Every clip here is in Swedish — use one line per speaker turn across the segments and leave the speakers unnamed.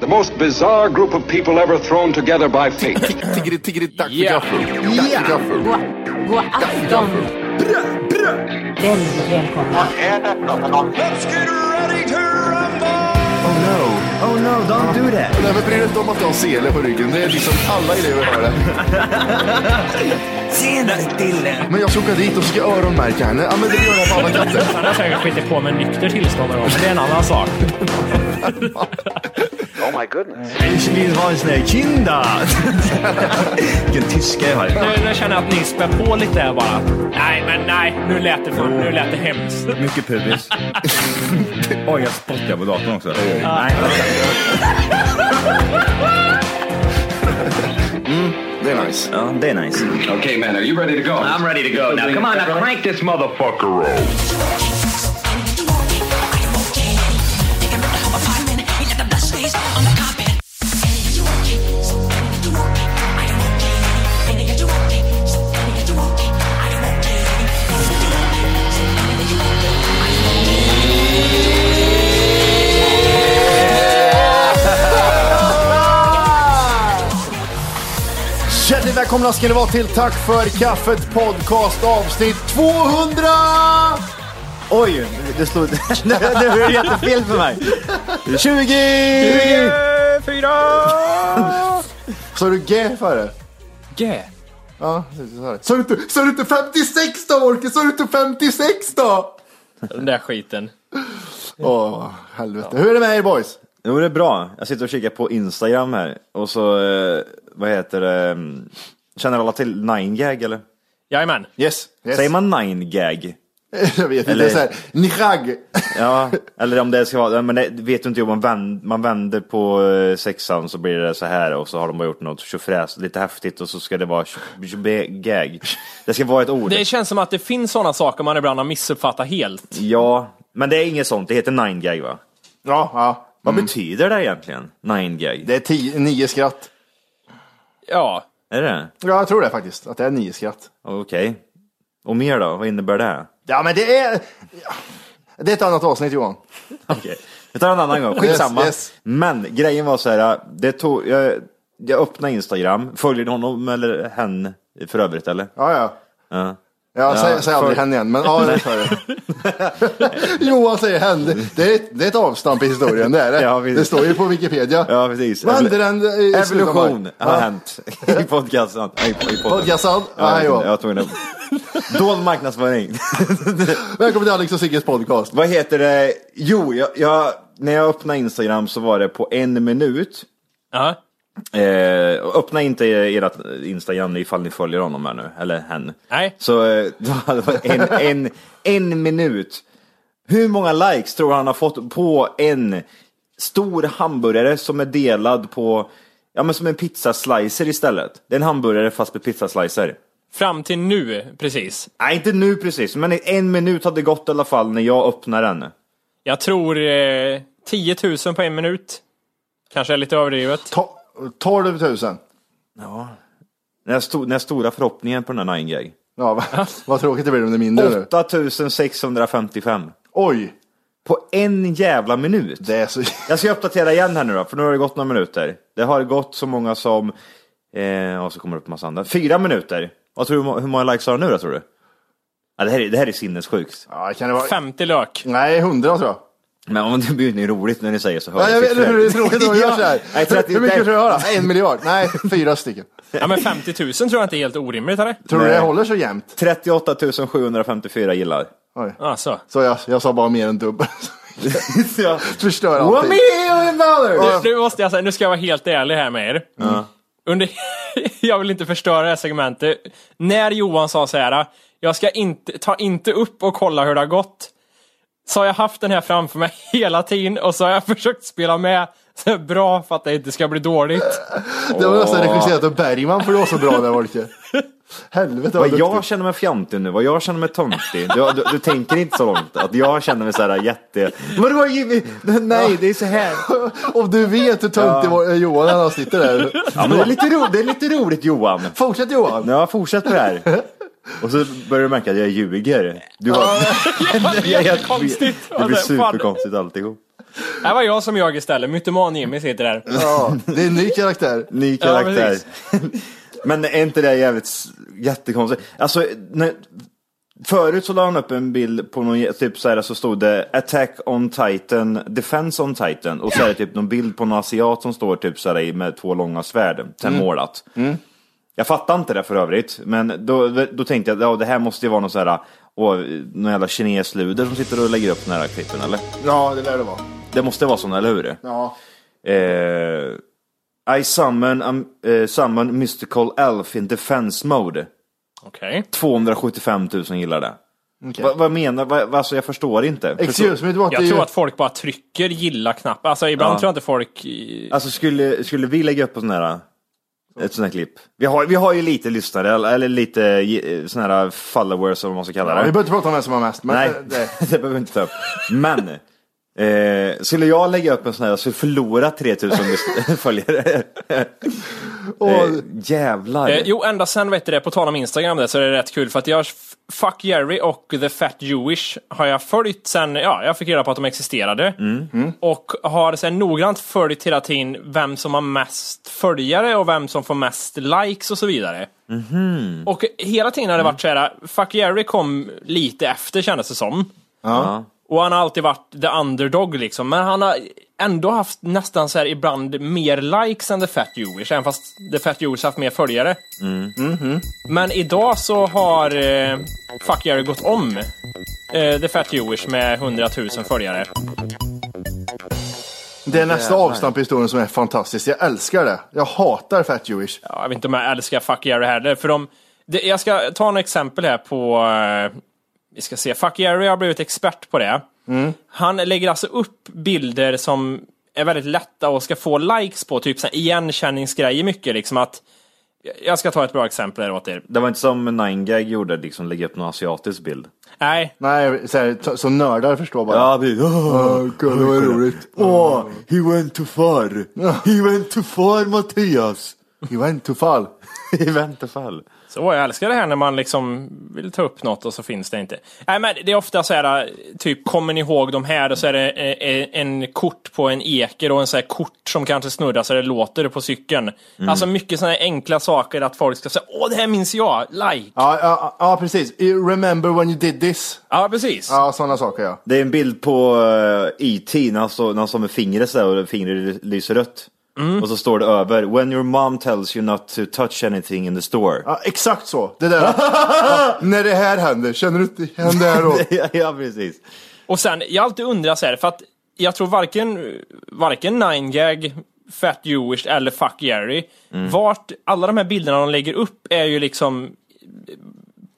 The most bizarre group of people ever thrown together by fate.
Tiggeri, tiggeri, dack för kaffe. Dack för kaffe.
God, god afton. Väldigt välkomna.
Oh no, oh no, don't do that.
Nej, men bry dig inte om att jag har sele på ryggen. Det är liksom alla elever har det.
Tjena Dille!
Men jag ska åka dit och ska öronmärka henne. Ja, men det gör jag på alla katter.
Han har säkert skitit på med nykter tillstånd någon gång, men det är en annan sak.
Ich vill ha en sån här kinda. Vilken tyska jag har.
Nu, nu känner jag att ni spär på lite här bara. Nej, men nej. Nu lät det, för, nu lät det hemskt.
Mycket pubis. Oj, jag spottar på datorn också. Nej,
Det är nice.
ja, det är nice.
okay, man, are you ready to go?
I'm ready to go. Now, come on, now crank this motherfucker up.
Hjärtligt välkomna ska Ah! ni vara till Tack för kaffet podcast avsnitt 200!
Oj, det slog... Nu nu blev det jättefel för mig. 20!
Sa du G före?
G.
Ja, så- så här. Sa du inte- Sa du inte 56 då, Orke? Sa du inte 56 då?
Den där skiten.
Åh, helvete. Hur är det med er boys?
Jo, det är bra. Jag sitter och kikar på Instagram här och så, eh, vad heter det? mm, Känner alla till 9gag eller?
Jajamän.
Yes. yes.
Säger man 9gag?
Jag vet inte.
Eller-
Så här, Nihag.
Ja, eller om det ska vara, men det vet du inte, om man, vänd, man vänder på eh, sexan så blir det så här och så har de bara gjort något tjofräs, lite häftigt och så ska det vara tj- tj- gag. Det ska vara ett ord.
Det känns som att det finns sådana saker man ibland har missuppfattat helt.
Ja, men det är inget sånt, det heter nine gag va?
Ja, ja.
Vad betyder det egentligen? Nine gag?
Det är tio, nio skratt.
Ja.
Är det
Ja, jag tror det faktiskt. Att det är nio skratt.
Okej. Och mer då? Vad innebär det?
Ja, men det är... Det är ett annat avsnitt Johan.
Okej, vi tar en annan gång. Skitsamma.
Yes, yes.
Men grejen var så här, det tog, jag, jag öppnade Instagram, följer du honom eller hen för övrigt eller?
Ja, ja.
Ja.
Ja, säg,
Ja,
säg aldrig
för-
hen igen, men ja, det sa jag. Johan säger hen. Det är, ett, det är ett avstamp i historien, det är det.
Ja, visst.
det står ju på Wikipedia.
Ja, precis.
Vad hände
Evol-
den eh, i slutet av
Evolution
maj?
har
Ja.
hänt i podcasten. I, i podden.
Podcastan? Ja,
Ja, jag, vet inte,
Johan.
jag tog den. Dold marknadsföring.
Välkommen till Alex och Sigges podcast.
Vad heter det? Jo, jag, jag, när jag öppnade Instagram så var det på en minut.
Ja.
Eh, och öppna inte ert Instagram ifall ni följer honom här nu, eller hen.
Nej.
Så eh, då hade det varit en, en, en minut. Hur många likes tror han har fått på en stor hamburgare som är delad på, ja men som en pizzaslicer istället. Det är en hamburgare fast med pizzaslicer.
Fram till nu, precis.
Nej, inte nu precis, men en minut hade gått i alla fall när jag öppnade den.
Jag tror eh, 10 000 på en minut. Kanske är lite överdrivet.
To- 12 000.
Den, här sto- den här stora förhoppningen på den här 9
Ja, vad, vad tråkigt det blir om det är mindre nu.
8655.
Oj,
På en jävla minut.
det är så...
Jag ska uppdatera igen här nu då, för nu har det gått några minuter. Det har gått så många som, eh, och så kommer det upp massa andra, fyra minuter. Vad tror du, hur må- hur många likes har du nu då tror du? Ja, det, här är, det här är sinnessjukt.
Ja, kan det vara...
50 lök.
Nej, 100 tror jag.
Men om det blir ju roligt när ni säger så höga
Ja, jag vet inte hur det är
siffror.
tråkigt att göra så här.
Nej, trettio-
Hur mycket
nej.
tror jag har då? En miljard? Nej, fyra stycken.
Ja, men 50 000 tror jag inte är helt orimligt, eller?
Tror du
Nej.
det håller så jämnt?
38 754 gillar.
Alltså.
Så jag, jag sa bara mer än dubbelt.
ja.
Förstör
One
allting.
million dollars!
Nu måste jag säga, nu ska jag vara helt ärlig här med er. Under, jag vill inte förstöra det här segmentet. När Johan sa så här, jag ska inte, ta inte upp och kolla hur det har gått. Så har jag haft den här framför mig hela tiden och så har jag försökt spela med så här bra för att det inte ska bli dåligt.
Det var nästan regisserat av Bergman för det var så bra där Volke. Helvete vad
Vad jag
duktig.
känner mig fjantig nu, vad jag känner mig töntig. Du, du, du tänker inte så långt att jag känner mig så här jätte... Vadå Jimmy? Nej, det är så här.
Om du vet hur töntig ja. Johan är när han sitter där.
Ja, men det, är lite ro, det är lite roligt Johan.
Fortsätt Johan.
Ja, fortsätt med det här. Och så börjar du märka att jag ljuger. Du bara,
Det är
jag-
konstigt.
det blir superkonstigt alltihop.
Det här var jag som jag istället. Mytoman Jimmy sitter där.
Ja, det är en ny karaktär.
Ny karaktär. Men är inte det jävligt s- jättekonstigt? Alltså, när, förut så la han upp en bild på någon, jä- typ så här så stod det Attack on Titan, Defense on Titan och så är det typ någon bild på någon asiat som står typ så här i- med två långa svärd, mm. målat. Jag fattar inte det för övrigt, men då, då tänkte jag ja, det här måste ju vara någon så här, åh, någon jävla kinesluder som sitter och lägger upp den här klippen eller?
Ja, det lär det vara.
Det måste vara sådana, eller hur?
Ja.
Eh, I summon, um, eh, summon mystical elf in defense mode.
Okej.
275 000 gillar det.
Okej.
Vad- vad menar, vad- alltså jag förstår inte. Förstår-
Excuse me, det var
Jag
ju-
tror att folk bara trycker gilla-knappen. Alltså ibland
Ja.
tror jag inte folk... i-
Alltså skulle, skulle vi lägga upp en sån här, eh, ett sånt här klipp? Vi har, vi har ju lite lyssnare, eller- eller lite eh, sån här followers eller vad man ska kalla
Ja,
det.
vi behöver inte prata om vem som har mest. Men
Nej,
eh,
det
det,
behöver vi inte ta upp. Men, eh, skulle jag lägga upp en sån här, jag skulle förlora 3000 lys- följare.
och,
Eh, jävlar.
Eh, jo, ända sen vet du det, på tal om Instagram där, så är det rätt kul för att jag, f- Fuck Jerry och The Fat Jewish har jag följt sen, ja, jag fick reda på att de existerade. Och har sen noggrant följt hela tiden vem som har mest följare och vem som får mest likes och så vidare. Och hela tiden har det varit så här, Fuck Jerry kom lite efter kändes det som.
ja.
Och han har alltid varit the underdog liksom, men han har ändå haft nästan så här ibland mer likes än the fat Jewish, även fast the fat Jewish haft mer följare. Mhm. Men idag så har eh, Fuck Jerry gått om eh, the fat Jewish med 100 000 följare.
det är nästa avstamp i historien som är fantastiskt. Jag älskar det. Jag hatar Fat Jewish.
Ja, jag vet inte om jag älskar Fuck Jerry heller, för de, det, jag ska ta en exempel här på, eh, vi ska se, Fuck Jerry har blivit expert på det. Han lägger alltså upp bilder som är väldigt lätta och ska få likes på, typ så här igenkänningsgrejer mycket, liksom att jag ska ta ett bra exempel här åt er.
Det var inte som 9gag gjorde, liksom lägga upp någon asiatisk bild.
Nej,
Nej, så, här, t- så nördar förstår bara.
Ja, vi... Åh,
kolla vad roligt.
Åh, he went too far. He went too far, Mattias.
You went to fall.
I väntefall.
så jag älskar det här när man liksom vill ta upp något och så finns det inte. Nej, men det är ofta så här, typ, kommer ni ihåg de här? Och så är det eh, en kort på en eker och en så här kort som kanske snurrar så det låter på cykeln.
Mm.
Alltså mycket sådana här enkla saker att folk ska säga, åh, det här minns jag, like.
Ja, ja, ja, precis. You remember when you did this?
Ja, precis.
Ja, sådana saker ja.
Det är en bild på eh, E.T. när han står när han står med fingret så här och fingret lyser rött. Och så står det över, when your mom tells you not to touch anything in the store.
ja exakt så. Det där. ja, när det här händer, känner du inte igen det här då?
ja, ja, precis.
Och sen, jag har alltid undrat så här, för att jag tror varken, varken 9gag, Fat Jewish eller Fuck Jerry, vart alla de här bilderna de lägger upp är ju liksom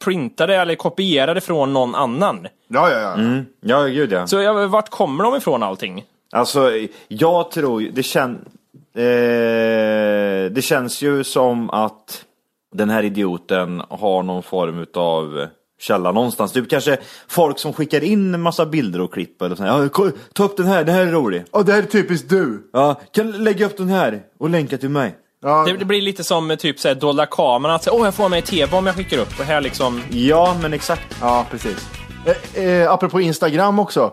printade eller kopierade från någon annan.
Ja, ja, ja.
Mm.
Ja, gud ja.
Så jag, vart kommer de ifrån allting?
Alltså, jag tror ju- det känns... Eh, det känns ju som att den här idioten har någon form utav källa någonstans. Typ kanske folk som skickar in en massa bilder och klipp eller sånt. Ja, ko- ta upp den här, den här är rolig.
Och det här är typiskt du.
Ja, kan du lägga upp den här och länka till mig.
Ja,
Det, det blir lite som eh, typ såhär dolda kameran, att säga, åh jag får mig i tv om jag skickar upp. Och här liksom,
Ja, men exakt.
ja precis. Eh, eh, apropå Instagram också.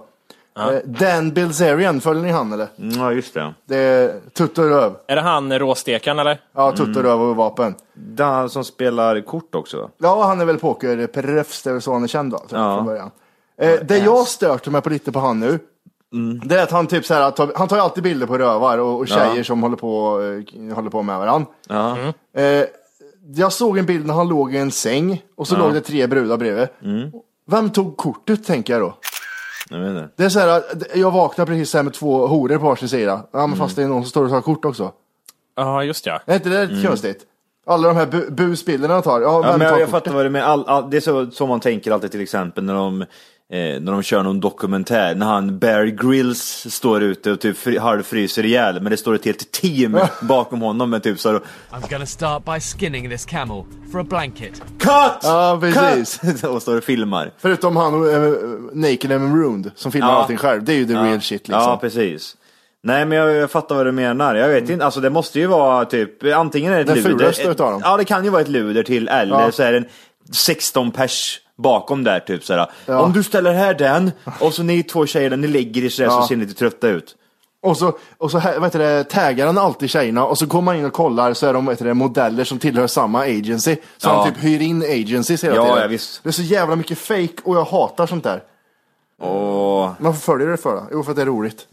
Eh, Dan Bilzerian, följer ni han eller?
Ja, just det.
Det är tutt och röv.
är det han eh, råstekaren eller?
Ja, tutt och röv och vapen.
Den som spelar kort också. va?
Ja, han är väl pokerproffs, det är väl så han är känd då, tror jag,
Ja.
från början. Eh, det jag stört mig på lite på han nu,
Mm.
det är att han typ så här, tar- han tar ju alltid bilder på rövar och, och tjejer som håller på, eh, håller på med varandra.
Ja.
Eh, jag såg en bild när han låg i en säng och så låg det tre brudar bredvid. Vem tog kortet tänker jag då?
Mm. Jag vet inte.
Det är så här, att jag vaknar precis så här med två horor på varsin sida. Ja, men
Mm.
fast det är någon som står och tar kort också.
Ja, just ja.
Är inte det lite konstigt? Alla de här bu- busbilderna han tar. Ja,
Mm. Ja,
vem
men
tar
jag, jag
kortet?
fattar vad du menar. All, all, det är så, så man tänker alltid till exempel när de, eh, när de kör någon dokumentär. När han Barry Grills står ute och typ fri, halvfryser ihjäl. Men det står ett helt team bakom honom med typ så här,
I'm gonna start by skinning this camel for a blanket.
Cut!
Ja, precis.
Cut! och står och filmar.
Förutom han eh, Naked and Marooned som filmar
Ja.
allting själv. Det är ju the real shit liksom.
Ja, precis. Nej men jag, jag fattar vad du menar. Jag vet inte, alltså det måste ju vara typ, antingen är det
Mm. Den
ett luder.
fulaste utav dem.
Ja det kan ju vara ett luder till eller
Ja.
så är det en 16 pers bakom där typ såhär. Om du ställer här den, och så ni två tjejerna, ni lägger er sådär så
Ja.
ser ni lite trötta ut.
Och så, och så här- vad heter det, taggar han alltid tjejerna och så går man in och kollar så är de vad heter det, modeller som tillhör samma agency. Så
Ja.
han typ hyr in agencies hela
Ja,
tiden.
ja, visst.
Det är så jävla mycket fake och jag hatar sånt där.
Och,
Man följer det för det. Jo, för att det är roligt.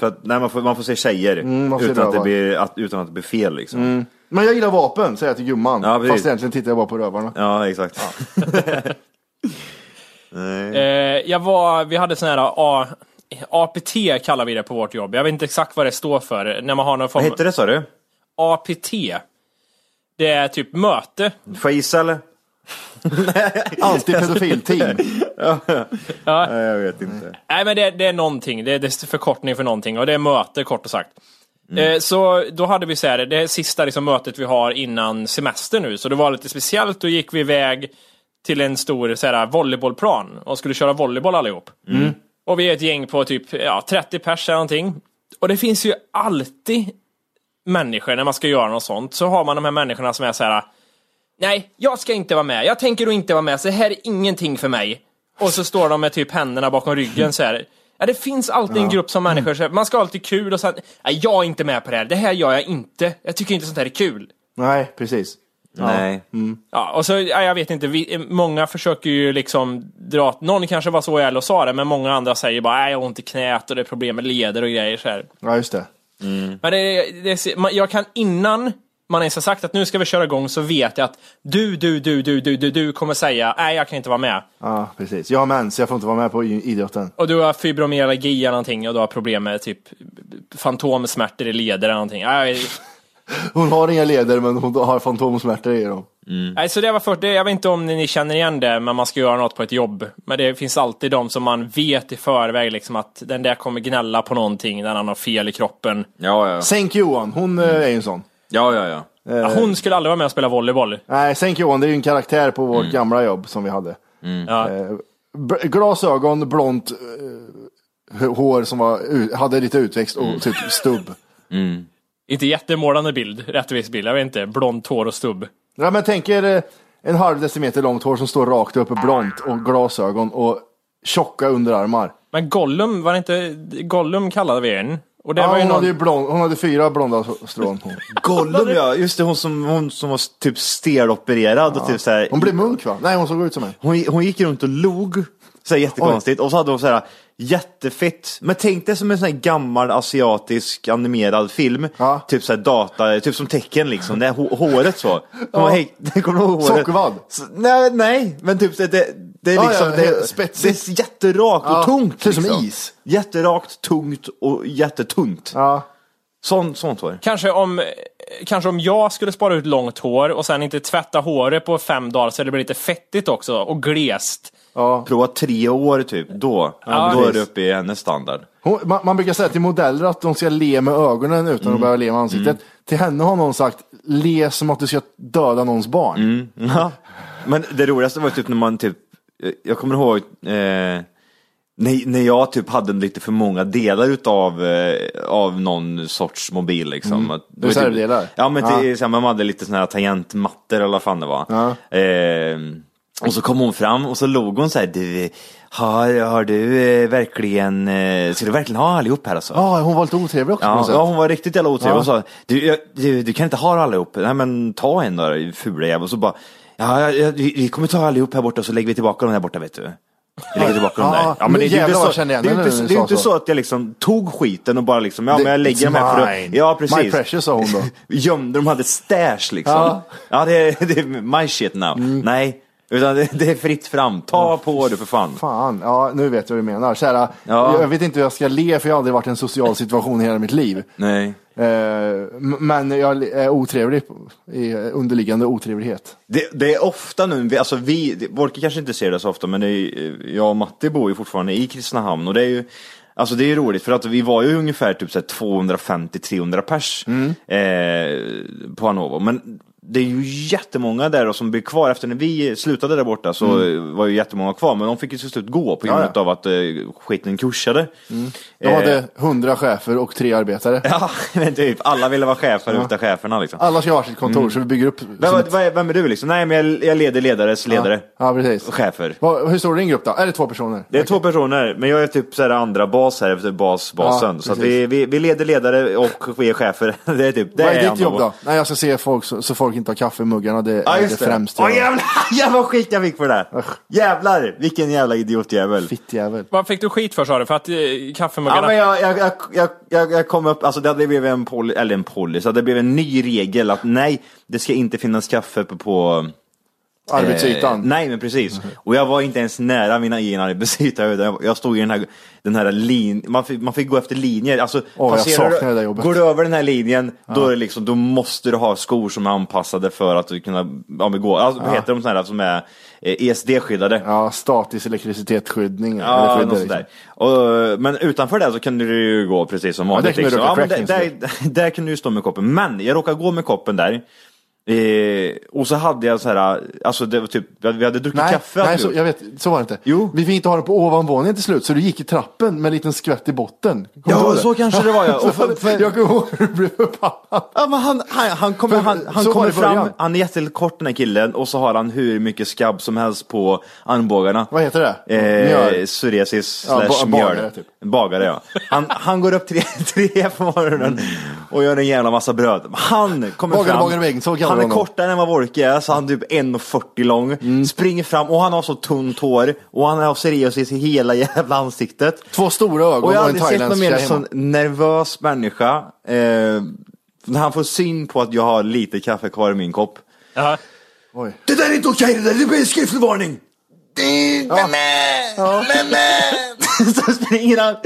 för att, nej, man, får, man får se tjejer
Mm, man får se
utan, att det
rövar. Mm.
blir, att, utan att det blir fel liksom.
Men jag gillar vapen, säger jag till gumman.
Ja, precis.
Fast egentligen tittar jag bara på rövarna.
Ja, exakt.
Eh, jag var, vi hade sån här A, APT kallar vi det på vårt jobb. Jag vet inte exakt vad det står för. När man har någon
Vad
form
hette det sa du?
APT. Det är typ möte.
Får jag gissa eller?
Alltid pedofilteam.
Nej, jag vet inte.
Nej men det, det är någonting, det, det är förkortning för någonting och det är möte kort och sagt. Eh, så då hade vi så här, det sista liksom, mötet vi har innan semester nu, så det var lite speciellt. Då gick vi iväg till en stor så här, volleybollplan och skulle köra volleyboll allihop. Och vi är ett gäng på typ ja, 30 pers eller någonting. Och det finns ju alltid människor när man ska göra något sånt, så har man de här människorna som är så här. Nej, jag ska inte vara med. Jag tänker då inte vara med, så det här är ingenting för mig. Och så står de med typ händerna bakom ryggen så här. Ja, det finns alltid en grupp som människor, så här, man ska ha lite kul och sen, nej, jag är inte med på det här, det här gör jag inte, jag tycker inte sånt här är kul.
Nej, precis.
Nej.
Mm.
Ja, och så, ja, jag vet inte, vi, många försöker ju liksom dra, någon kanske var så ärlig och sa det, men många andra säger bara, nej, jag har ont i knät och det är problem med leder och grejer så här.
Ja, just det.
Men det, det, man, jag kan innan man ens har sagt att nu ska vi köra igång så vet jag att du, du, du, du, du, du, du kommer säga nej jag kan inte vara med.
Ja, precis. Jag har mens, jag får inte vara med på i- idrotten.
Och du har fibromyalgi eller någonting och du har problem med typ fantomsmärtor i leder eller någonting. Nej,
Hon har inga leder, men hon har fantomsmärtor i dem.
nej, så det var först, det, jag vet inte om ni känner igen det, men man ska göra något på ett jobb. Men det finns alltid de som man vet i förväg liksom att den där kommer gnälla på någonting, den han har fel i kroppen.
Ja, ja,
Sänk Johan, hon
Mm.
eh, är ju en sån.
ja. ja, ja.
Ja, Hon skulle aldrig vara med och spela volleyboll.
Nej, Sänk Johan, det är ju en karaktär på
Mm.
vårt gamla jobb som vi hade.
Ja.
B- glasögon, blont eh, h- hår som var, u- hade lite utväxt
Mm.
och typ stubb.
Inte jättemålande bild, rättvis bild, jag vet inte. Blont hår och stubb.
Ja, men tänk er eh, en halv decimeter långt hår som står rakt upp, blont och glasögon och tjocka underarmar.
Men Gollum, var det inte Gollum kallade vi en? Och det
Ja,
var ju
hon, hade ju
någon...
blond, hon hade fyra blonda strån.
Gollum ja, just det hon som, hon som var typ stelopererad och typ såhär.
Hon blev munk va? Nej, hon såg ut som en.
hon, hon gick runt och log. Såhär jättekonstigt. Och så hade hon såhär jättefett. Men tänk dig som en sån här gammal asiatisk animerad film.
Ja.
Typ såhär data, typ som tecken liksom. Det här hå- håret så. Hon var häng- Kommer du ihåg håret?
Sockervadd.
Så- Nej, nej, men typ såhär, det, det är
Ja, ja,
liksom.
helt
det, det
spetsigt.
är jätterakt och
Ja,
tungt.
ser ut som
liksom.
is.
Jätterakt, tungt och jättetunt.
Ja.
Sånt, sånt var det.
Kanske om, eh, kanske om jag skulle spara ut långt hår och sen inte tvätta håret på fem dagar så det blir lite fettigt också och glest.
Prova tre år typ, då, då är
precis.
du uppe i hennes standard.
Hon, man, man brukar säga till modeller att de ska le med ögonen utan
Mm.
att behöva le med ansiktet. Till henne har någon sagt, le som att du ska döda någons barn.
Ja. Men det roligaste var typ när man typ, eh, jag kommer ihåg eh, när, när jag typ hade lite för många delar utav eh, av någon sorts mobil liksom. Att, det var typ-
Mm. Reservdelar?
Ja men
Ja.
till, så här, man hade lite sådana här tangentmattor eller vad fan det var. Eh, och så kom hon fram och så log hon så här, du, har, har du eh, verkligen, eh, ska du verkligen ha allihop här alltså?
Ja, hon var lite otrevlig också på
Ja,
något sätt.
ja, hon var riktigt jävla otrevlig.
Ja.
Hon sa, du, jag, du, du kan inte ha allihop. Nej men ta en då, du fula jävel. Och så bara, ja, ja, ja, vi, vi kommer ta allihop här borta och så lägger vi tillbaka dem där borta vet du. Vi lägger tillbaka dem
Ja,
där.
nu
det, det är ju
jävlar
inte
vad
så,
jag känner igen
det är ju
henne
inte,
när du
det är ju
sa
inte
så.
så att jag liksom tog skiten och bara liksom, ja
Det-
men jag lägger
it's
dem här för att,
mine.
ja precis.
My precious, sa hon då.
Gömde dem, hade stash liksom. Ja,
Ja. Mm.
det, är, det är my shit now. Nej, utan det, det är fritt fram. Ta på du för fan.
Fan, ja nu vet jag vad du menar. Så här,
Ja.
Jag vet inte hur jag ska le för jag har aldrig varit i en social situation i hela mitt liv.
Nej.
Eh, m- men jag är otrevlig på- i underliggande otrevlighet.
Det, det är ofta nu, vi- alltså vi, det- Wolke kanske inte ser det så ofta, men det är, ju- eh, jag och Matti bor ju fortfarande i Kristinehamn och det är ju Alltså det är ju roligt för att vi var ju
Mm.
ungefär typ så här 250-300 pers eh, på Hanover. Men det är ju jättemånga där och som blir kvar. Efter när vi slutade där borta så eh, var ju jättemånga kvar, men de fick ju till slut gå på grund
Mm. Ja, Mm. ja.
av att eh, skiten kursade.
De
Eh.
hade hundra chefer och tre arbetare.
Ja, men typ. Alla ville vara chefer utan cheferna liksom.
Alla ska ha sitt kontor så vi bygger upp.
Vem,
som
vad,
ett-
vad är, vem är du liksom? Nej, men jag, jag leder ledares ledare.
Ja, precis.
Chefer.
Vad- Hur stor är din grupp då? Är det två personer?
Det är två personer, men jag är typ så här andra bas här efter basbasen.
Ja,
så att
precis.
vi, vi, vi leder ledare och vi är chefer. Det är typ, det
Vad
är
är ditt
andra
jobb
bas.
då? Nej, jag ska se folk så, så folk inte har kaffe i muggarna. Det
Ja
är det
just det.
främsta.
Åh jävlar, jävlar vad skit jag fick för det.
Usch.
Jävlar, vilken jävla idiotjävel.
Fittjävel.
Vad fick du skit för sa du? För att eh, kaffemuggarna?
Ja, men jag, jag, jag, jag, jag, jag kom upp, alltså det hade blivit en policy, eller en policy, det blev en ny regel att nej, det ska inte finnas kaffe uppe på
Arbetsytan.
Eh, nej men precis. Och jag var inte ens nära mina egna arbetsyta. utan Jag jag stod i den här, den här linjen, man, fick- man fick gå efter linjer. Alltså,
Åh, jag saknar det där
du,
jobbet.
går du över den här linjen, då, är det liksom, då måste du ha skor som är anpassade för att du kunna ja, men gå. Alltså, Vad heter de sådana här som är eh, ESD-skyddade?
Ja, statisk elektricitetsskyddning. eller liksom.
Ja,
skydd,
något sånt där. Och, men utanför det så kunde du ju gå precis som vanligt.
där kunde du
liksom.
röka
men
crack,
där, där, där kunde du stå med koppen. Men jag råkade gå med koppen där. Eh, och så hade jag så här, alltså det var typ, vi hade druckit
Nej,
kaffe. hade
nej
vi
så,
gjort.
jag vet, så var det inte.
Jo.
Vi fick inte ha det på ovanvåningen till slut, så du gick i trappen med en liten skvätt i botten. Kommer du
ja,
ihåg det?
så kanske det var ja. Och för,
Jag
för,
kommer ihåg hur du blev förbannad.
Ja, men han, han, han kommer,
För-
han, han
så var
kommer
det i
fram,
början.
han är jättekort den här killen och så har han hur mycket skabb som helst på armbågarna.
Vad heter det?
Eh,
Mjöl.
psoriasis slash
Ja, ba-
mjöl.
bagare, typ.
Bagare ja. Han, han går upp tre, tre på morgonen och gör en jävla massa bröd. Han kommer
Mm. Bagare,
fram.
bagare, vägg, så kallar de honom.
han är
Mm.
kortare än vad Wolke är, så han är typ 1,40 lång. Springer fram och han har så tunt hår och han har psoriasis i hela jävla ansiktet.
Två stora ögon
Och
och,
jag har
en
aldrig sett någon
thailändsk
mer
tjej hemma.
sån nervös människa. Eh, när han får syn på att jag har lite kaffe kvar i min kopp.
Jaha.
Oj.
Det där är inte okej, det där det blir en skriftlig varning! Det är... Nämen! Nämen! så springer han.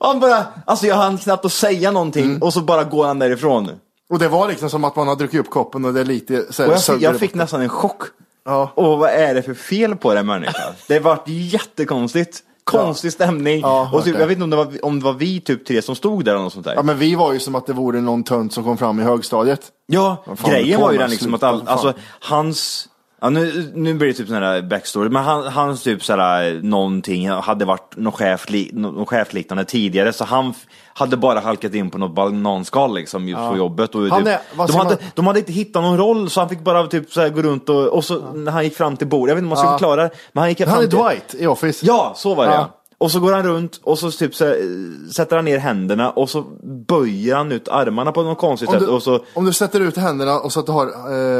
Han bara, alltså jag hann knappt att säga någonting och så bara går han därifrån.
Och det var liksom som att man har druckit upp koppen och det är lite så här,
Och jag, fick-
sönder
jag
i
fick
botten.
nästan en chock.
Ja.
Och vad är det för fel på den människan? Det vart jättekonstigt. Konstig stämning.
Ja,
och typ,
hört det.
jag vet inte om det, var, om det var vi typ tre som stod där eller något sånt där.
Ja men vi var ju som att det vore någon tönt som kom fram i högstadiet.
Ja,
Vad fan håller
grejen
du på
var ju
med?
den liksom att
Sluta,
all,
vad fan.
alltså hans, ja, nu, nu blir det typ sån här backstory, men han, hans typ såhär någonting, hade varit någon, chef, li- någon chefliknande tidigare så han f- hade bara halkat in på något bananskal liksom just på jobbet. Och
Han
typ,
är- vad
de,
säger
hade,
man?
de hade inte hittat någon roll så han fick bara typ såhär gå runt och, och så när han gick fram till bordet, jag vet inte om man ska
Ja.
förklara, men han gick fram
Han är
till,
Dwight i Office.
Ja, så var det
Ja.
ja. Och så går han runt och så typ så här, eh, sätter han ner händerna och så böjer han ut armarna på något konstigt
Om
sätt
du,
och så
om du sätter ut händerna och så att du har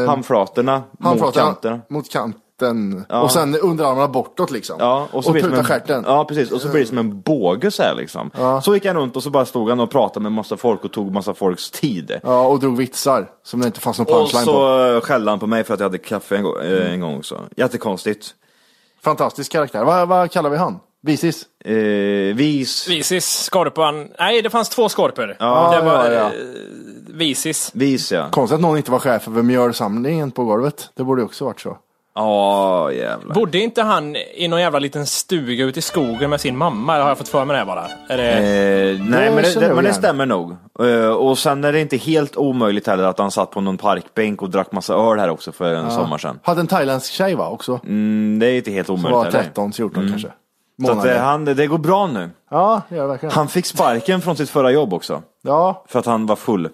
eh,
handflatorna mot
handflatorna
kanterna.
mot kanten. Och sen underarmarna bortåt liksom.
Ja, och så blir det som
tuta
en,
stjärten.
Ja, precis. Och så blir det som en båge så här liksom. Så gick han runt och så bara stod han och pratade med massa folk och tog massa folks tid.
Ja, och drog vitsar som det inte fanns någon
och
punchline på.
så eh, skällde han på mig för att jag hade kaffe en, gång- eh, en gång så. Jättekonstigt.
Fantastisk karaktär. Vad, vad kallar vi han? Visis?
Eh, vis,
Visis, Skorpan. Nej, det fanns två skorpor. det var
ja, ja.
eh, Visis.
vis ja.
Konstigt att någon inte var chef över mjölsamlingen på golvet. Det borde ju också varit så.
Ja, jävlar.
Bodde inte han i någon jävla liten stuga ute i skogen med sin mamma? Eller har jag fått för mig det här bara? Är det...
Eh, nej,
Det
men det,
känner
det,
jag
men det
igen.
stämmer nog. Eh, och sen är det inte helt omöjligt heller att han satt på någon parkbänk och drack massa öl här också för en sommar sedan.
Hade en thailändsk tjej va också?
Mm, det är inte helt
Som
omöjligt
var
heller.
13, 14 kanske.
Mm. Så att,
Månader.
eh, han, det går bra nu.
Ja, det gör det verkligen.
Han fick sparken från sitt förra jobb också.
Ja,
För att han var full.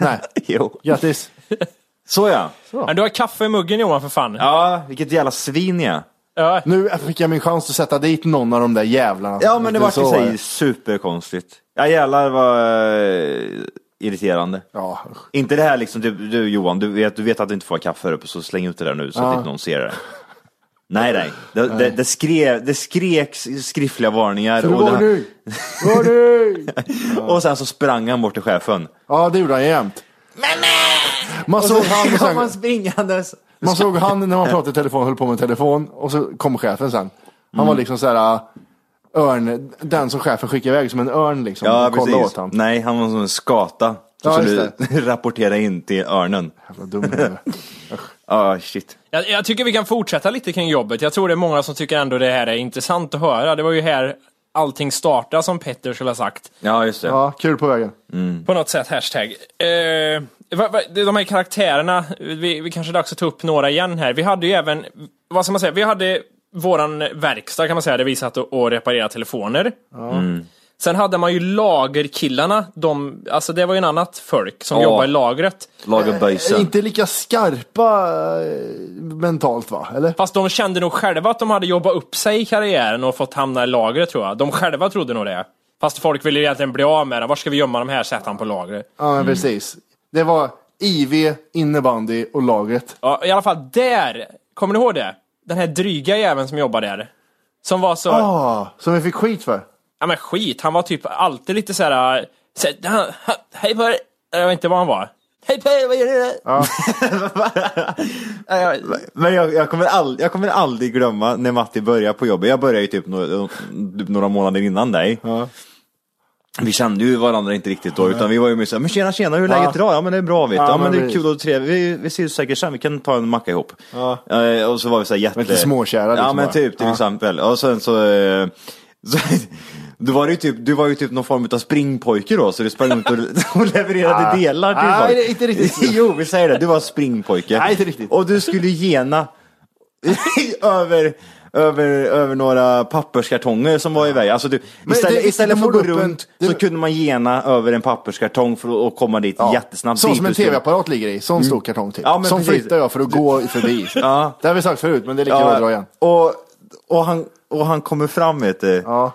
nej.
jo.
Grattis.
Så ja.
Men du har kaffe i muggen Johan för fan.
Ja, vilket jävla svin jag är.
Ja.
Nu fick jag min chans att sätta dit någon av de där jävlarna.
Ja, men det var
Så
i
det.
sig superkonstigt. Ja, jävlar vad eh, irriterande.
Ja, usch.
Inte det här liksom, du, du Johan, du vet, du vet att du inte får ha kaffe här uppe, så släng ut det där nu så att inte någon ser det. Nej, nej. Det, det, det, skrev, det skreks skriftliga varningar.
Hur
Och,
går
det,
du? Går du?
och sen så sprang han bort till chefen.
Ja, det gjorde han jämt.
eh,
Man såg, han och
kom han
sen,
springandes.
man såg han när man pratade i telefon, höll på med telefon och så kom chefen sen. Han
Mm.
var liksom så här äh, örn, den som chefen skickade iväg som en örn liksom.
Ja,
och kollade
precis.
åt han.
Nej, han var som en skata. Så
Ja,
skulle
just
du rapportera in till örnen.
Jävla dum huvud.
Ja, shit.
Jag, jag tycker vi kan fortsätta lite kring jobbet. Jag tror det är många som tycker ändå det här är intressant att höra. Det var ju här allting startar som Petter skulle ha sagt.
Ja, just det.
Ja, kul på vägen.
På något sätt, hashtag. Eh, va, va, de här karaktärerna, vi, vi kanske är dags att ta upp några igen här. Vi hade ju även, vad ska man säga, vi hade våran verkstad kan man säga, där vi satt och, och reparerade telefoner. Sen hade man ju lagerkillarna, de, alltså det var ju en annat folk som
Ja.
jobbade i lagret.
Lagerböjsen.
Inte lika skarpa eh, mentalt va? Eller?
Fast de kände nog själva att de hade jobbat upp sig i karriären och fått hamna i lagret tror jag. De själva trodde nog det. Fast folk ville ju egentligen bli av med dem. Var ska vi gömma de här? Sätt han på lagret.
Ja,
Mm.
men precis. Det var IV, innebandy och laget.
Ja, i alla fall där. Kommer ni ihåg det? Den här dryga jäveln som jobbar där. Som var så,
Ah, som vi fick skit för.
ja men skit, han var typ alltid lite såhär, så, här, han, han, hej på er. Jag vet inte vad han var. Hej på er, vad gör ni där?
Men jag, jag, kommer all, jag kommer aldrig glömma när Matti började på jobbet. Jag började ju typ, no, typ några månader innan dig. Vi kände ju varandra inte riktigt då, utan vi var ju mer såhär, men tjena tjena, hur är läget idag? Ja men det är bra vet du. Ja,
Ja,
men
men
det är
precis.
kul och trevligt, vi, vi ses säkert sen, vi kan ta en macka ihop. Eh, och så var vi såhär jätte...
lite småkära,
Ja
liksom
men
bara.
typ, till
Ja.
exempel. Och sen så... Eh, så du var, ju typ, du var ju typ någon form av springpojke då, så du sprang runt och, och levererade
Ah.
delar till
Ah,
folk.
det är inte riktigt.
jo, vi säger det. Du var springpojke.
Nej, inte riktigt.
Och du skulle gena över, över, över några papperskartonger som var i vägen. Alltså du, istället,
det-
istället
det
för att gå
får du upp en-
runt
det-
så kunde man gena över en papperskartong för att- att komma dit jättesnabbt.
Så
Dit
som en
du skulle.
tv-apparat ligger i, sån stor kartong typ.
Ja, men
som
precis.
flyttar jag för att gå förbi. Det har vi sagt förut, men det är lika bra att dra igen.
Och, och, han, och han kommer fram vet du.
Ja.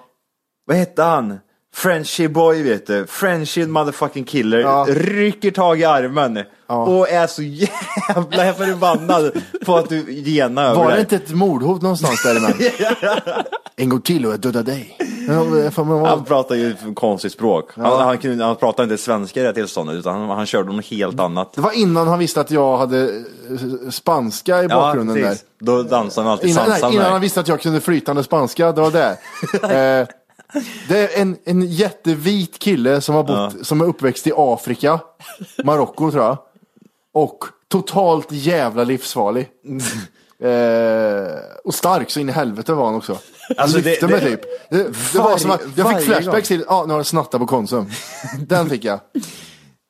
Vad hette han? Frenchy boy vet du. Frenchy motherfucking killer.
Ja.
Rycker tag i armen. Och är så jävla förbannad på att du genar över
Var det
där.
inte ett mordhot någonstans däremellan? en gång till och jag dödar dig. Ja, men fan, men vad-
Han pratar ju konstigt språk. Han, han, kunde- han pratar inte svenska i det tillståndet utan han, han körde något helt annat.
Mm. Det var innan han visste att jag hade eh, spanska i bakgrunden där.
precis. Då dansar han alltid
Innan,
Sansan
nej, innan
där.
han visste att jag kunde flytande spanska, det var det. eh, det är en, en jättevit kille som, har bott, som är uppväxt i Afrika, Marocko tror jag. Och totalt jävla livsfarlig. Eh, och stark så in i helvete var han också. Han
Alltså, det-
lyfte
det-
mig typ. Det, det var
varje-
som att jag
varje
fick flashbacks
gång.
till, ja ah, nu har han snattat på Konsum. Den fick jag.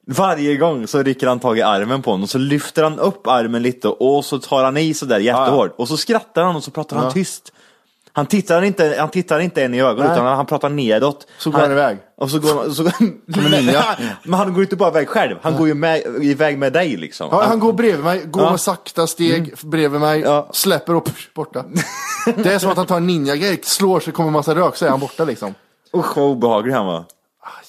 Varje gång så rycker han tag i armen på honom och så lyfter han upp armen lite och så tar han i sådär jättehårt. Och så skrattar han och så pratar han tyst. Han tittar inte, han tittar inte en i ögonen
Nej.
utan han, han pratar nedåt.
Så går han iväg.
Och så går han, så, men han går ju inte bara iväg själv, han går ju med, iväg med dig liksom.
Ja, han går bredvid mig, går
Ja. Mm.
med sakta steg bredvid mig,
Ja.
släpper och pff, borta. Det är som att han tar en ninja slår så kommer massa rök så är han borta liksom.
Usch vad obehaglig han var.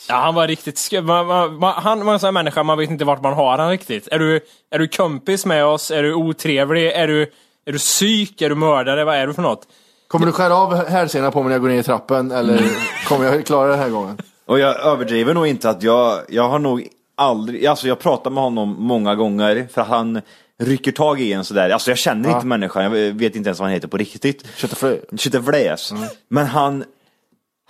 Ja, han var riktigt sk- man, man, man, Han var en sån här människa, man vet inte vart man har han riktigt. Är du, är du kompis med oss? Är du otrevlig? Är du, är du psyk? Är du mördare? Vad är du för något?
Kommer du skära av hälsenan på mig när jag går ner i trappen eller kommer jag klara det den här gången?
Och jag överdriver nog inte att jag, jag har nog aldrig, alltså jag pratar med honom många gånger för att han rycker tag i en sådär, alltså jag känner inte människan, jag vet inte ens vad han heter på riktigt.
Köttflö.
Köttefläs. Men han,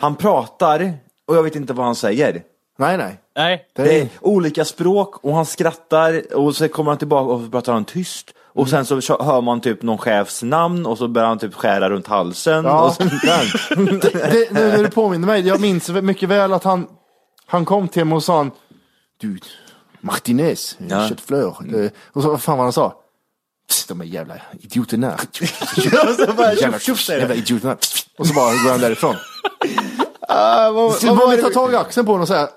han pratar och jag vet inte vad han säger.
Nej, nej.
Nej.
Det är olika språk och han skrattar och sen kommer han tillbaka och så pratar han tyst. Och sen så kö- hör man typ någon chefs namn och så börjar han typ skära runt halsen.
Ja.
Och så,
Det, det, nu när du påminner mig, jag minns mycket väl att han, han kom till mig och sa han, du, Martinez,
Ja. Mm.
köttflör. Eh, Och så vad fan var han sa? "Psst, De är jävla idioterna.
och så bara
Jävla,
tjoff tjoff säger
jävla
typ det.
idioterna. Och så bara går han därifrån.
Ah,
Så
vad- vad
Typ, man
var
vill ta
det?
tag i axeln på honom och säga,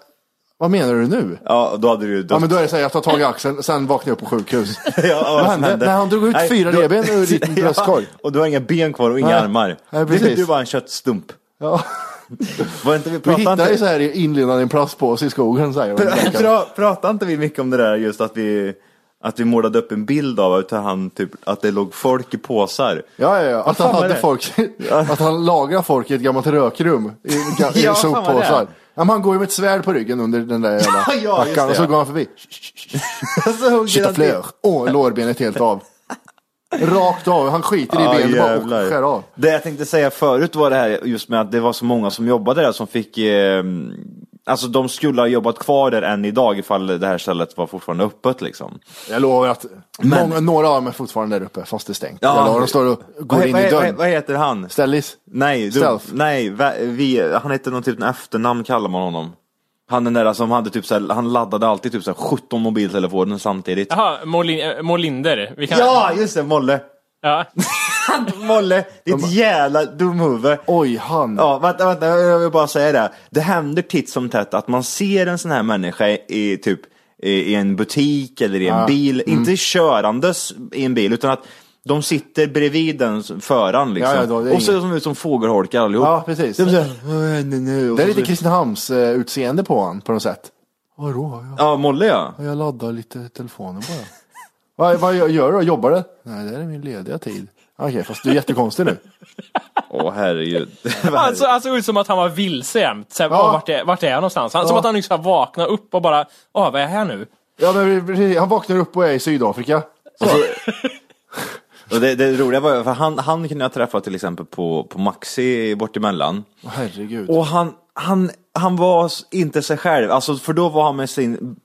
vad menar du nu?
Ja, då hade du
Ja men då är det så här, jag tar tag i axeln, sen vaknar jag upp på sjukhus. vad
som
hände? Nej, han drog ut fyra
då-
revben ur din
Ja,
bröstkorg.
Och du har inga ben kvar och inga
Nej.
armar.
Nej,
du,
precis.
du var en köttstump.
Ja.
Var inte vi
Vi
pratade
hittar
inte-
ju så här inlindad i en plastpåse i skogen säger
Pra-
hon.
pra- Pratade inte vi mycket om det där just att vi, att vi målade upp en bild av utan han, typ, att det låg folk i påsar?
Ja, ja, ja. Att han
fan var
hade
det?
folk, att han lagrar folk i ett gammalt rökrum i, ga- i
Ja, fan var det?
soppåsar. Ja, men han går ju med ett svärd på ryggen under den där jävla
Ja, ja, just
rackaren,
det,
och så
ja.
går han förbi.
så hugger
Shit
han
flör. Åh, lårbenet helt av. Rakt av, han skiter i
Ja,
benet bara
jävlar.
och skär av.
Det jag tänkte säga förut var det här just med att det var så många som jobbade där som fick eh, Alltså de skulle ha jobbat kvar där än idag ifall det här stället var fortfarande öppet liksom.
Jag lovar att
Men-
många, några av dem är fortfarande där uppe fast det är stängt. Jag lovar, de står och går
Vad-
in
vad,
i
Vad,
dörren.
vad heter han?
Ställis.
Nej, du,
Stealth.
nej va- vi, han hette någon typ en efternamn kallar man honom. Han den där som hade typ så här, han laddade alltid typ så här 17 mobiltelefoner samtidigt.
Jaha, Molin, eh, Molinder. Vi kan,
Ja, just det, Molle.
ja.
Molle, ditt jävla dumhuvud.
Oj, han.
Ja, vänta, vänta, jag vill bara säga det. Det händer titt som tätt att man ser en sån här människa i typ i i en butik eller i en bil,
Mm.
inte körandes i en bil, utan att de sitter bredvid den s- föraren liksom.
Ja, ja, då, det är
och ser
inget.
de ut som fågelholkar allihop.
Ja, precis.
De så här, "Åh, nej, nej", och
Det är
så-
lite Kristinehamns eh, utseende på han på något sätt. Vadå? Jag,
Ja, Molle ja.
jag laddar lite telefonen bara. vad, vad gör du då? Jobbar du? Nej, det här är min lediga tid. Okej, fast du är jättekonstig nu.
Åh herregud.
Alltså, alltså ut som att han var vilse jämt. Såhär,
Ja.
"Åh, Vart, är, vart är jag någonstans? Han, Som att han liksom nyss har vaknat upp och bara, åh, vad är jag här nu?
Ja, men precis. han vaknar upp och är i Sydafrika.
och det, det roliga var ju, för han, han kunde jag träffa till exempel på, på Maxi bort emellan.
Åh, Herregud.
Och han, han, han var s- inte sig själv, alltså, för då var han med sin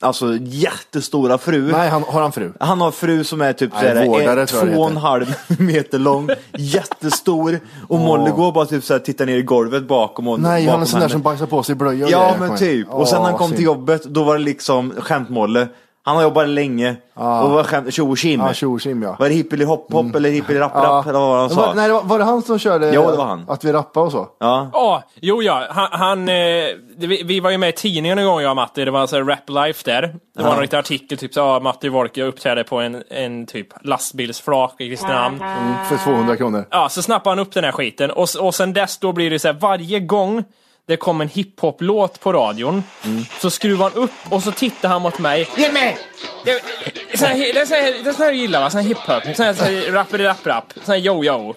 alltså, jättestora fru.
Nej, han, har han fru?
Han har fru som är typ
Nej,
såhär,
vårdare
en,
tror jag det
två och en
heter.
halv meter lång, jättestor. Och Molly går bara typ såhär, tittar ner i golvet bakom och
Nej,
bakom
han är sån där som bajsar på sig blöjor. och
Ja
grejer.
men
Kom
typ.
igen.
Och sen
Åh,
när han kom
synd.
till jobbet, då var det liksom skämtmolle. Han har jobbat länge och var skämt, tjo och tjim.
Ja, tjo och tjim, ja.
Var det hippelihopp hopp eller hippelirapp-rapp eller vad var det han
Men var,
sa?
nej, det var, var det han som körde
Ja, det var han.
att vi rappade och så?
Ja.
Ja, jo ja, han, han eh, det- vi, vi var ju med i tidningen en gång jag och Matti, det var alltså Rap Life där. Det var en riktig artikel, typ så ah, Matti Wolke uppträdde på en, en typ lastbilsflak i Kristinehamn.
Mm, För 200 kronor.
Ja, så snappade han upp den här skiten och, s- och sen dess då blir det så här varje gång det kom en hiphop-låt på radion så skruvar han upp och så tittar han mot mig. Ge mig! Det, sån här, det, är sån här, det är sån här jag gillar va? Sån här hiphop, sån här, sån här rapp-rapp, sån här yo-yo.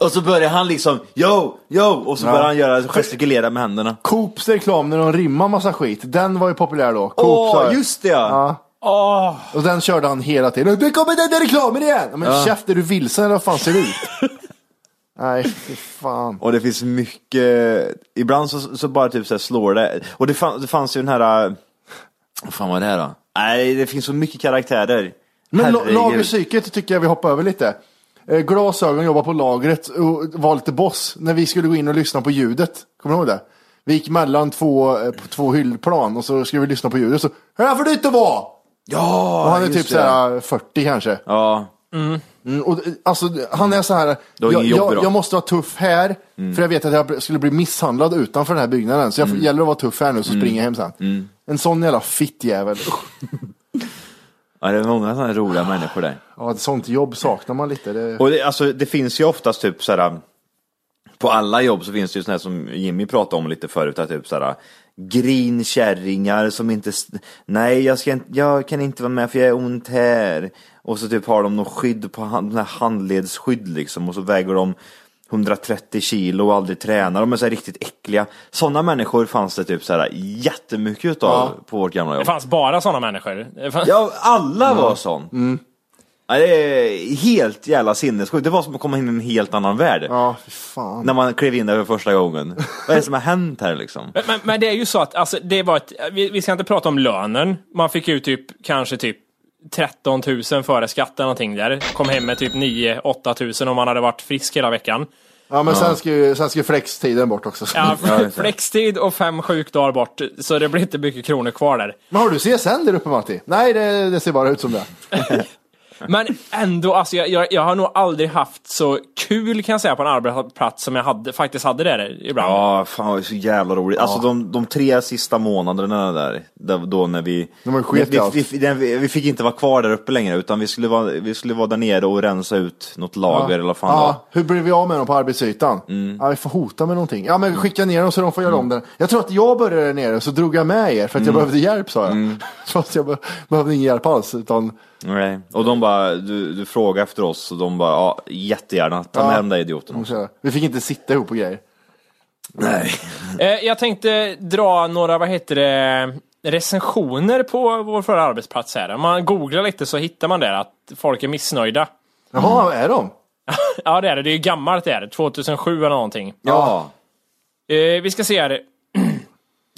Och så börjar han liksom, yo, yo, och så börjar han göra gestikulera med händerna.
Coops reklam när de rimmar massa skit, den var ju populär då. Coop
Åh,
sa-
just det ja!
Ja. Och den körde han hela tiden. Det kommer den där reklamen igen! Ja, Men käft, är du vilsen eller vad fan ser du ut? Nej, fy fan.
Och det finns mycket, ibland så, så bara typ så här slår det. Och det, fan, det fanns ju den här, äh, vad fan var det här då? Nej, det finns så mycket karaktärer.
Men la-
Herregud.
lagerpsyket tycker jag vi hoppar över lite. Eh, Glasögon jobbar på lagret och var lite boss när vi skulle gå in och lyssna på ljudet. Kommer du ihåg det? Vi gick mellan två, eh, på två hyllplan och så skulle vi lyssna på ljudet. Så, här får du inte vara!
Ja,
Och han är
just
typ
det.
så här 40 kanske.
Ja,
Mm, och, eh, alltså, han är så här,
har
jag,
ingen jobb Mm.
jag,
idag.
jag måste vara tuff här, för jag vet att jag skulle bli misshandlad utanför den här byggnaden. Så jag mm. gäller att vara tuff här nu, så springer jag hem sen.
Mm.
En sån jävla fittjävel. Usch.
ja, det är många sådana roliga människor där.
Ja, ett sånt jobb saknar man lite. Det...
Och det, alltså, det finns ju oftast typ såhär, på alla jobb så finns det ju sådana som Jimmy pratade om lite förut, att typ såhär grinkärringar som inte, s- nej jag, ska inte, jag kan inte vara med för jag är ont här. Och så typ har de någon skydd på hand, den här handledsskydd liksom och så väger de 130 kilo och aldrig tränar, de är så här riktigt äckliga. Sådana människor fanns det typ såhär jättemycket utav på vårt gamla jobb.
Det fanns bara såna människor. Det fanns-
Ja, Mm. alla var sån. Ja, det är helt jävla sinnessjukt. Det var som att komma in i en helt annan värld.
Ja, fy fan.
När man klev in där för första gången. Vad är det som har hänt här liksom?
Men- Men, men det är ju så att, alltså, det var ett, vi, vi ska inte prata om lönen. Man fick ut typ, kanske typ 13 000 före skatt eller någonting där. Kom hem med typ 9-8 000 om man hade varit frisk hela veckan.
Ja, men sen ska ju, sen ska ju flextiden bort också.
Ja,
just det.
flextid och fem sjukdagar bort, så det blir inte mycket kronor kvar där.
Men har du CSN där uppe Matti? Nej, det, det ser bara ut som det.
Men ändå, alltså, jag, jag, jag har nog aldrig haft så kul kan jag säga på en arbetsplats som jag hade, faktiskt hade där ibland.
Ja, fan det är så jävla roligt. Alltså de, de tre sista månaderna där, där då när vi...
De har ju skit i
vi,
allt.
vi, vi, den- vi, vi fick inte vara kvar där uppe längre, utan vi skulle vara, vi skulle vara där nere och rensa ut något lager eller vad fan det var. Mm.
Ja, hur blir vi av med dem på arbetsytan? Ja, vi får hota med någonting. Ja, men skicka ner dem så de får göra om den. Jag tror att jag började där nere så drog jag med er för att
Mm.
jag behövde hjälp sa jag. Fast jag be- behövde ingen hjälp alls. Utan,
Nej. Och de bara, du, du frågade efter oss och de bara, ja jättegärna, ta med de där idioterna också.
vi fick inte sitta ihop och grejer.
Nej.
Eh, jag tänkte dra några, vad heter det, recensioner på vår förra arbetsplats här. Om man googlar lite så hittar man där att folk är missnöjda.
Jaha,
Mm.
är de?
Ja det är det, det är ju gammalt det är det, 2007 eller någonting.
ja.
Eh, vi ska se här.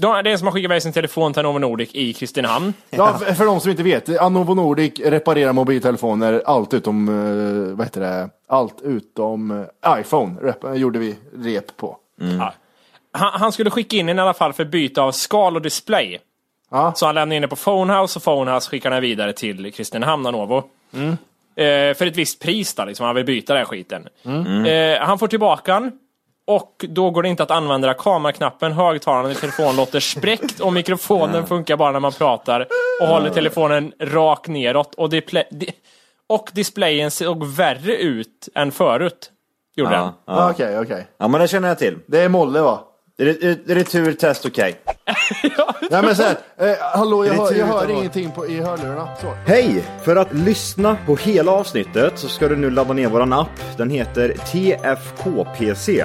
De, det är en som har skickat iväg sin telefon till Novo Nordic i Kristinehamn.
Ja, för, för de som inte vet, Anovo Nordic reparerar mobiltelefoner, allt utom, eh, vad heter det, allt utom eh, iPhone rep, gjorde vi rep på.
Ja. Han, han skulle skicka in en i alla fall för byte av skal och display.
Ja.
Så han lämnade in det på Phonehouse och Phonehouse skickade den vidare till Kristinehamn och Novo. Eh, för ett visst pris då, liksom. han vill byta den här skiten. Eh, han får tillbaka den. Och då går det inte att använda kameraknappen, högtalaren i telefonen låter spräckt och mikrofonen funkar bara när man pratar och håller telefonen rakt neråt. Och, display, di- och displayen såg värre ut än förut. Gjorde den.
Ja, ja.
Ah, Okej, okej.
ja, men det känner jag till.
Det är Molle va?
Re- Retur, test, okej.
Nej men såhär, eh, hallå jag,
Det är
hör,
tur
jag hör
utan våld.
ingenting på, i hörlurarna. Så.
Hej! För att lyssna på hela avsnittet så ska du nu ladda ner våran app. Den heter TFKPC.